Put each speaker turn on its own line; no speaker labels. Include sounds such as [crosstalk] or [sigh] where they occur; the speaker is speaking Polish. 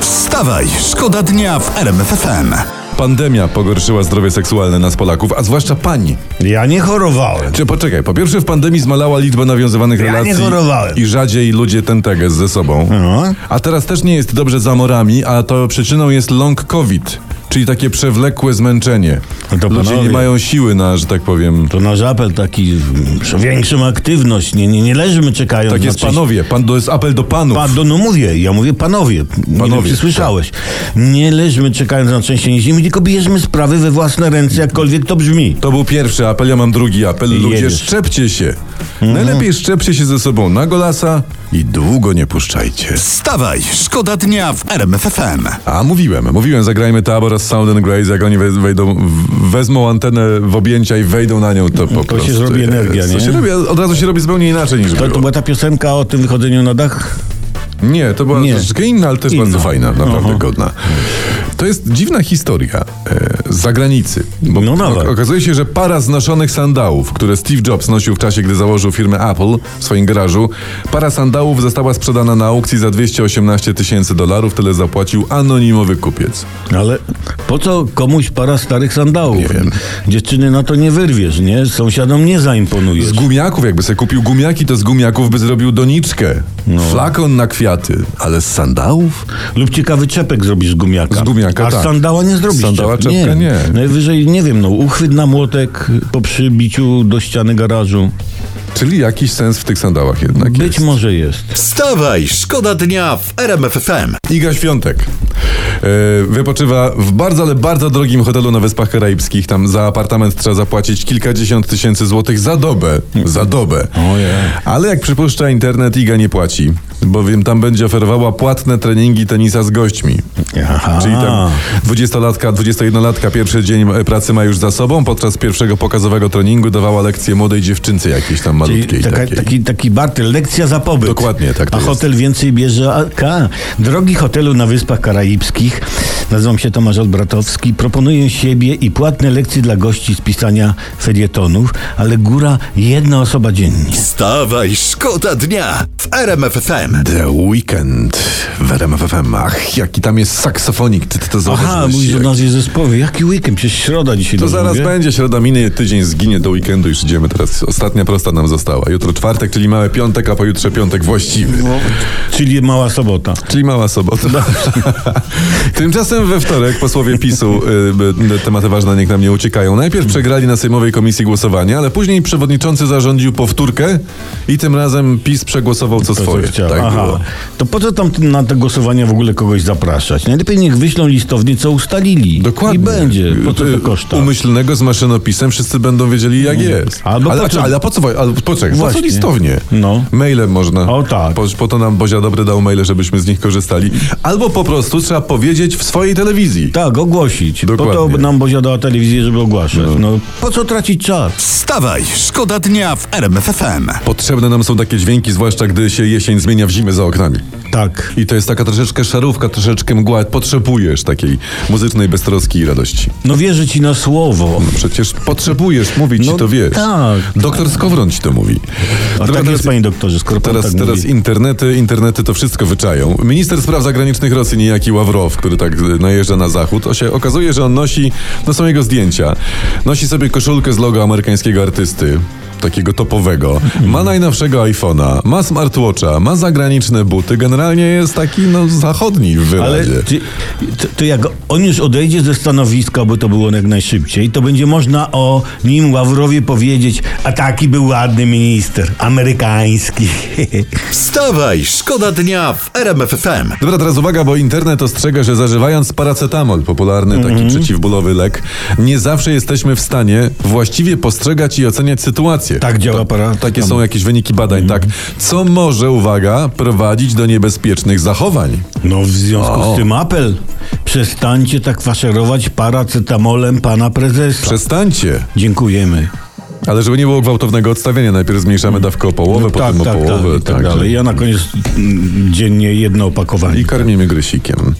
Wstawaj, szkoda dnia w RMFFM.
Pandemia pogorszyła zdrowie seksualne nas Polaków, a zwłaszcza pani.
Ja nie chorowałem.
Czy poczekaj, po pierwsze w pandemii zmalała liczba nawiązywanych
nie
relacji
chorowałem.
i rzadziej ludzie tentegę ze sobą.
No.
A teraz też nie jest dobrze za morami, a to przyczyną jest long covid, czyli takie przewlekłe zmęczenie.
No to
ludzie nie
panowie.
mają siły na, że tak powiem.
To nasz apel taki, mm, że większą aktywność, nie, nie, nie leżymy czekając
Tak
na
jest
coś.
panowie, pan, to jest apel do panów.
Pa, no, no mówię, ja mówię panowie, panowie nie
Panowie,
wiem, czy słyszałeś. Nie leżmy czekając na częściej niż inni, tylko bierzmy sprawy we własne ręce, jakkolwiek to brzmi.
To był pierwszy apel, ja mam drugi apel. Ludzie,
Jedziesz. Mhm.
szczepcie się. Najlepiej szczepcie się ze sobą na golasa i długo nie puszczajcie.
Wstawaj, szkoda dnia w RMFFM.
A mówiłem, mówiłem, zagrajmy tabor z Sound and Grace, jak oni we- wejdą, w- wezmą antenę w objęcia i wejdą na nią, to po
To się
prostu...
zrobi
jest.
energia,
to
nie? Tak
Się robi, od razu się robi zupełnie inaczej niż
To,
było.
to była ta piosenka o tym wychodzeniu na dach?
Nie, to była
Nie.
troszeczkę inna, ale też
Inna. Mhm.
bardzo fajna, naprawdę
Aha.
godna. To jest dziwna historia e, z zagranicy. Bo
No
o-
dawaj.
okazuje się, że para znoszonych sandałów, które Steve Jobs nosił w czasie, gdy założył firmę Apple w swoim garażu, para sandałów została sprzedana na aukcji za 218 tysięcy dolarów, tyle zapłacił anonimowy kupiec.
Ale po co komuś para starych sandałów?
Nie wiem.
Dziewczyny na to nie wyrwiesz, nie? Sąsiadom nie zaimponujesz.
Z gumiaków, jakby sobie kupił gumiaki, to z gumiaków by zrobił doniczkę.
No.
Flakon na kwiaty, ale z sandałów?
Lub ciekawy czepek zrobisz z gumiaka.
Z gumiaka,
A
tak.
z sandała nie
Z
zrobisz.
sandała
czepka.
czepka nie.
Najwyżej, nie wiem, no uchwyt na młotek po przybiciu do ściany garażu.
Czyli jakiś sens w tych sandałach jednak
Być
Tak jest.
może jest.
Wstawaj, szkoda dnia w RMFFM.
Iga Świątek e, wypoczywa w bardzo, ale bardzo drogim hotelu na Wyspach Karaibskich. Tam za apartament trzeba zapłacić kilkadziesiąt tysięcy złotych za dobę. Za dobę.
Ojej.
Ale jak przypuszcza internet, Iga nie płaci, bowiem tam będzie oferowała płatne treningi tenisa z gośćmi.
Aha.
Czyli tam 20-latka, 21-latka pierwszy dzień e, pracy ma już za sobą. Podczas pierwszego pokazowego treningu dawała lekcję młodej dziewczynce jakiejś tam
Czyli
malutkiej.
taka,
takiej.
taki, taki barter, lekcja za pobyt.
Dokładnie, tak to
A
jest.
hotel więcej bierze AK. Drogi hotelu na Wyspach Karaibskich, nazywam się Tomasz Odbratowski, proponuję siebie i płatne lekcje dla gości z pisania felietonów, ale góra jedna osoba dziennie.
Wstawaj, szkoda dnia w RMFFM.
The Weekend w RMFFM. Ach, jaki tam jest saksofonik, ty, ty to
Aha,
zauważyłeś.
mówisz o
Jak-
nazwie zespołu. Jaki weekend? Przecież środa dzisiaj.
To
dużo
zaraz
mówię.
będzie, środa minie, tydzień zginie do weekendu, już idziemy teraz. Ostatnia prosta nam została. Jutro czwartek, czyli mały piątek, a pojutrze piątek właściwy.
No. Czyli mała sobota.
Czyli mała sobota.
No.
[laughs] Tymczasem we wtorek posłowie PiSu, y, y, tematy ważne niech nam nie uciekają. Najpierw przegrali na Sejmowej Komisji Głosowania, ale później przewodniczący zarządził powtórkę i tym razem PiS przegłosował co
To, co
swoje.
chciałem.
Tak
Aha.
było.
To po co tam na te głosowania w ogóle kogoś zapraszać? Najlepiej niech wyślą listownie, co ustalili.
Dokładnie.
I będzie. Po co
Y,
to koszta?
Umyślnego z maszynopisem wszyscy będą wiedzieli jak jest.
Albo
ale,
no po czym?
ale, ale po co, ale poczekaj, po co
Właśnie.
listownie?
No.
Maile można.
O, tak.
Po, po to nam Bozia Dobry dał maile, żebyśmy z nich korzystali. Albo po prostu trzeba powiedzieć w swojej telewizji.
Tak, ogłosić. Po
Dokładnie.
to nam boziadała telewizję, żeby ogłaszać. No. po co tracić czas?
Wstawaj, szkoda dnia w RMFFM.
Potrzebne nam są takie dźwięki, zwłaszcza gdy się jesień zmienia w zimę za oknami.
Tak.
I to jest taka troszeczkę szarówka, troszeczkę mgła. Potrzebujesz takiej muzycznej beztroski i radości.
No wierzę ci na słowo.
Przecież potrzebujesz, mówić
No
ci to wiesz.
tak.
Doktor Skowron ci to mówi.
A
Dobra,
tak
teraz-
jest, panie doktorze, skoro pan
Teraz,
tak
teraz
mówi.
internety, internety to wszystko wyczają. Minister spraw zagranicznych Rosji, niejaki Ławrow, który tak e, najeżdża na zachód, o się okazuje, że on nosi, no są jego zdjęcia, nosi sobie koszulkę z logo amerykańskiego artysty, takiego topowego, ma najnowszego iPhone'a, ma smartwatcha, ma zagraniczne buty, generalnie jest taki, no, zachodni w
Ale
wyrazie.
ty, to, to jak on już odejdzie ze stanowiska, by to było jak najszybciej, to będzie można o nim Ławrowie powiedzieć, a taki był ładny minister, amerykański. [laughs]
Wstawaj, szkoda dnia w RMFFM.
Dobra, teraz uwaga, bo internet ostrzega, że zażywając paracetamol, popularny
Mhm.
taki przeciwbólowy lek, nie zawsze jesteśmy w stanie właściwie postrzegać i oceniać sytuację. rację.
Tak działa para.
Takie
tam.
są jakieś wyniki badań, tak. Co może, uwaga, prowadzić do niebezpiecznych zachowań?
No w związku
O.
z tym apel. Przestańcie tak faszerować paracetamolem pana prezesa.
Przestańcie.
Dziękujemy.
Ale żeby nie było gwałtownego odstawienia, najpierw zmniejszamy dawkę o połowę,
No
potem o połowę. tak.
i tak, dalej. Ja na koniec mm, dziennie jedno opakowanie.
I karmimy grysikiem.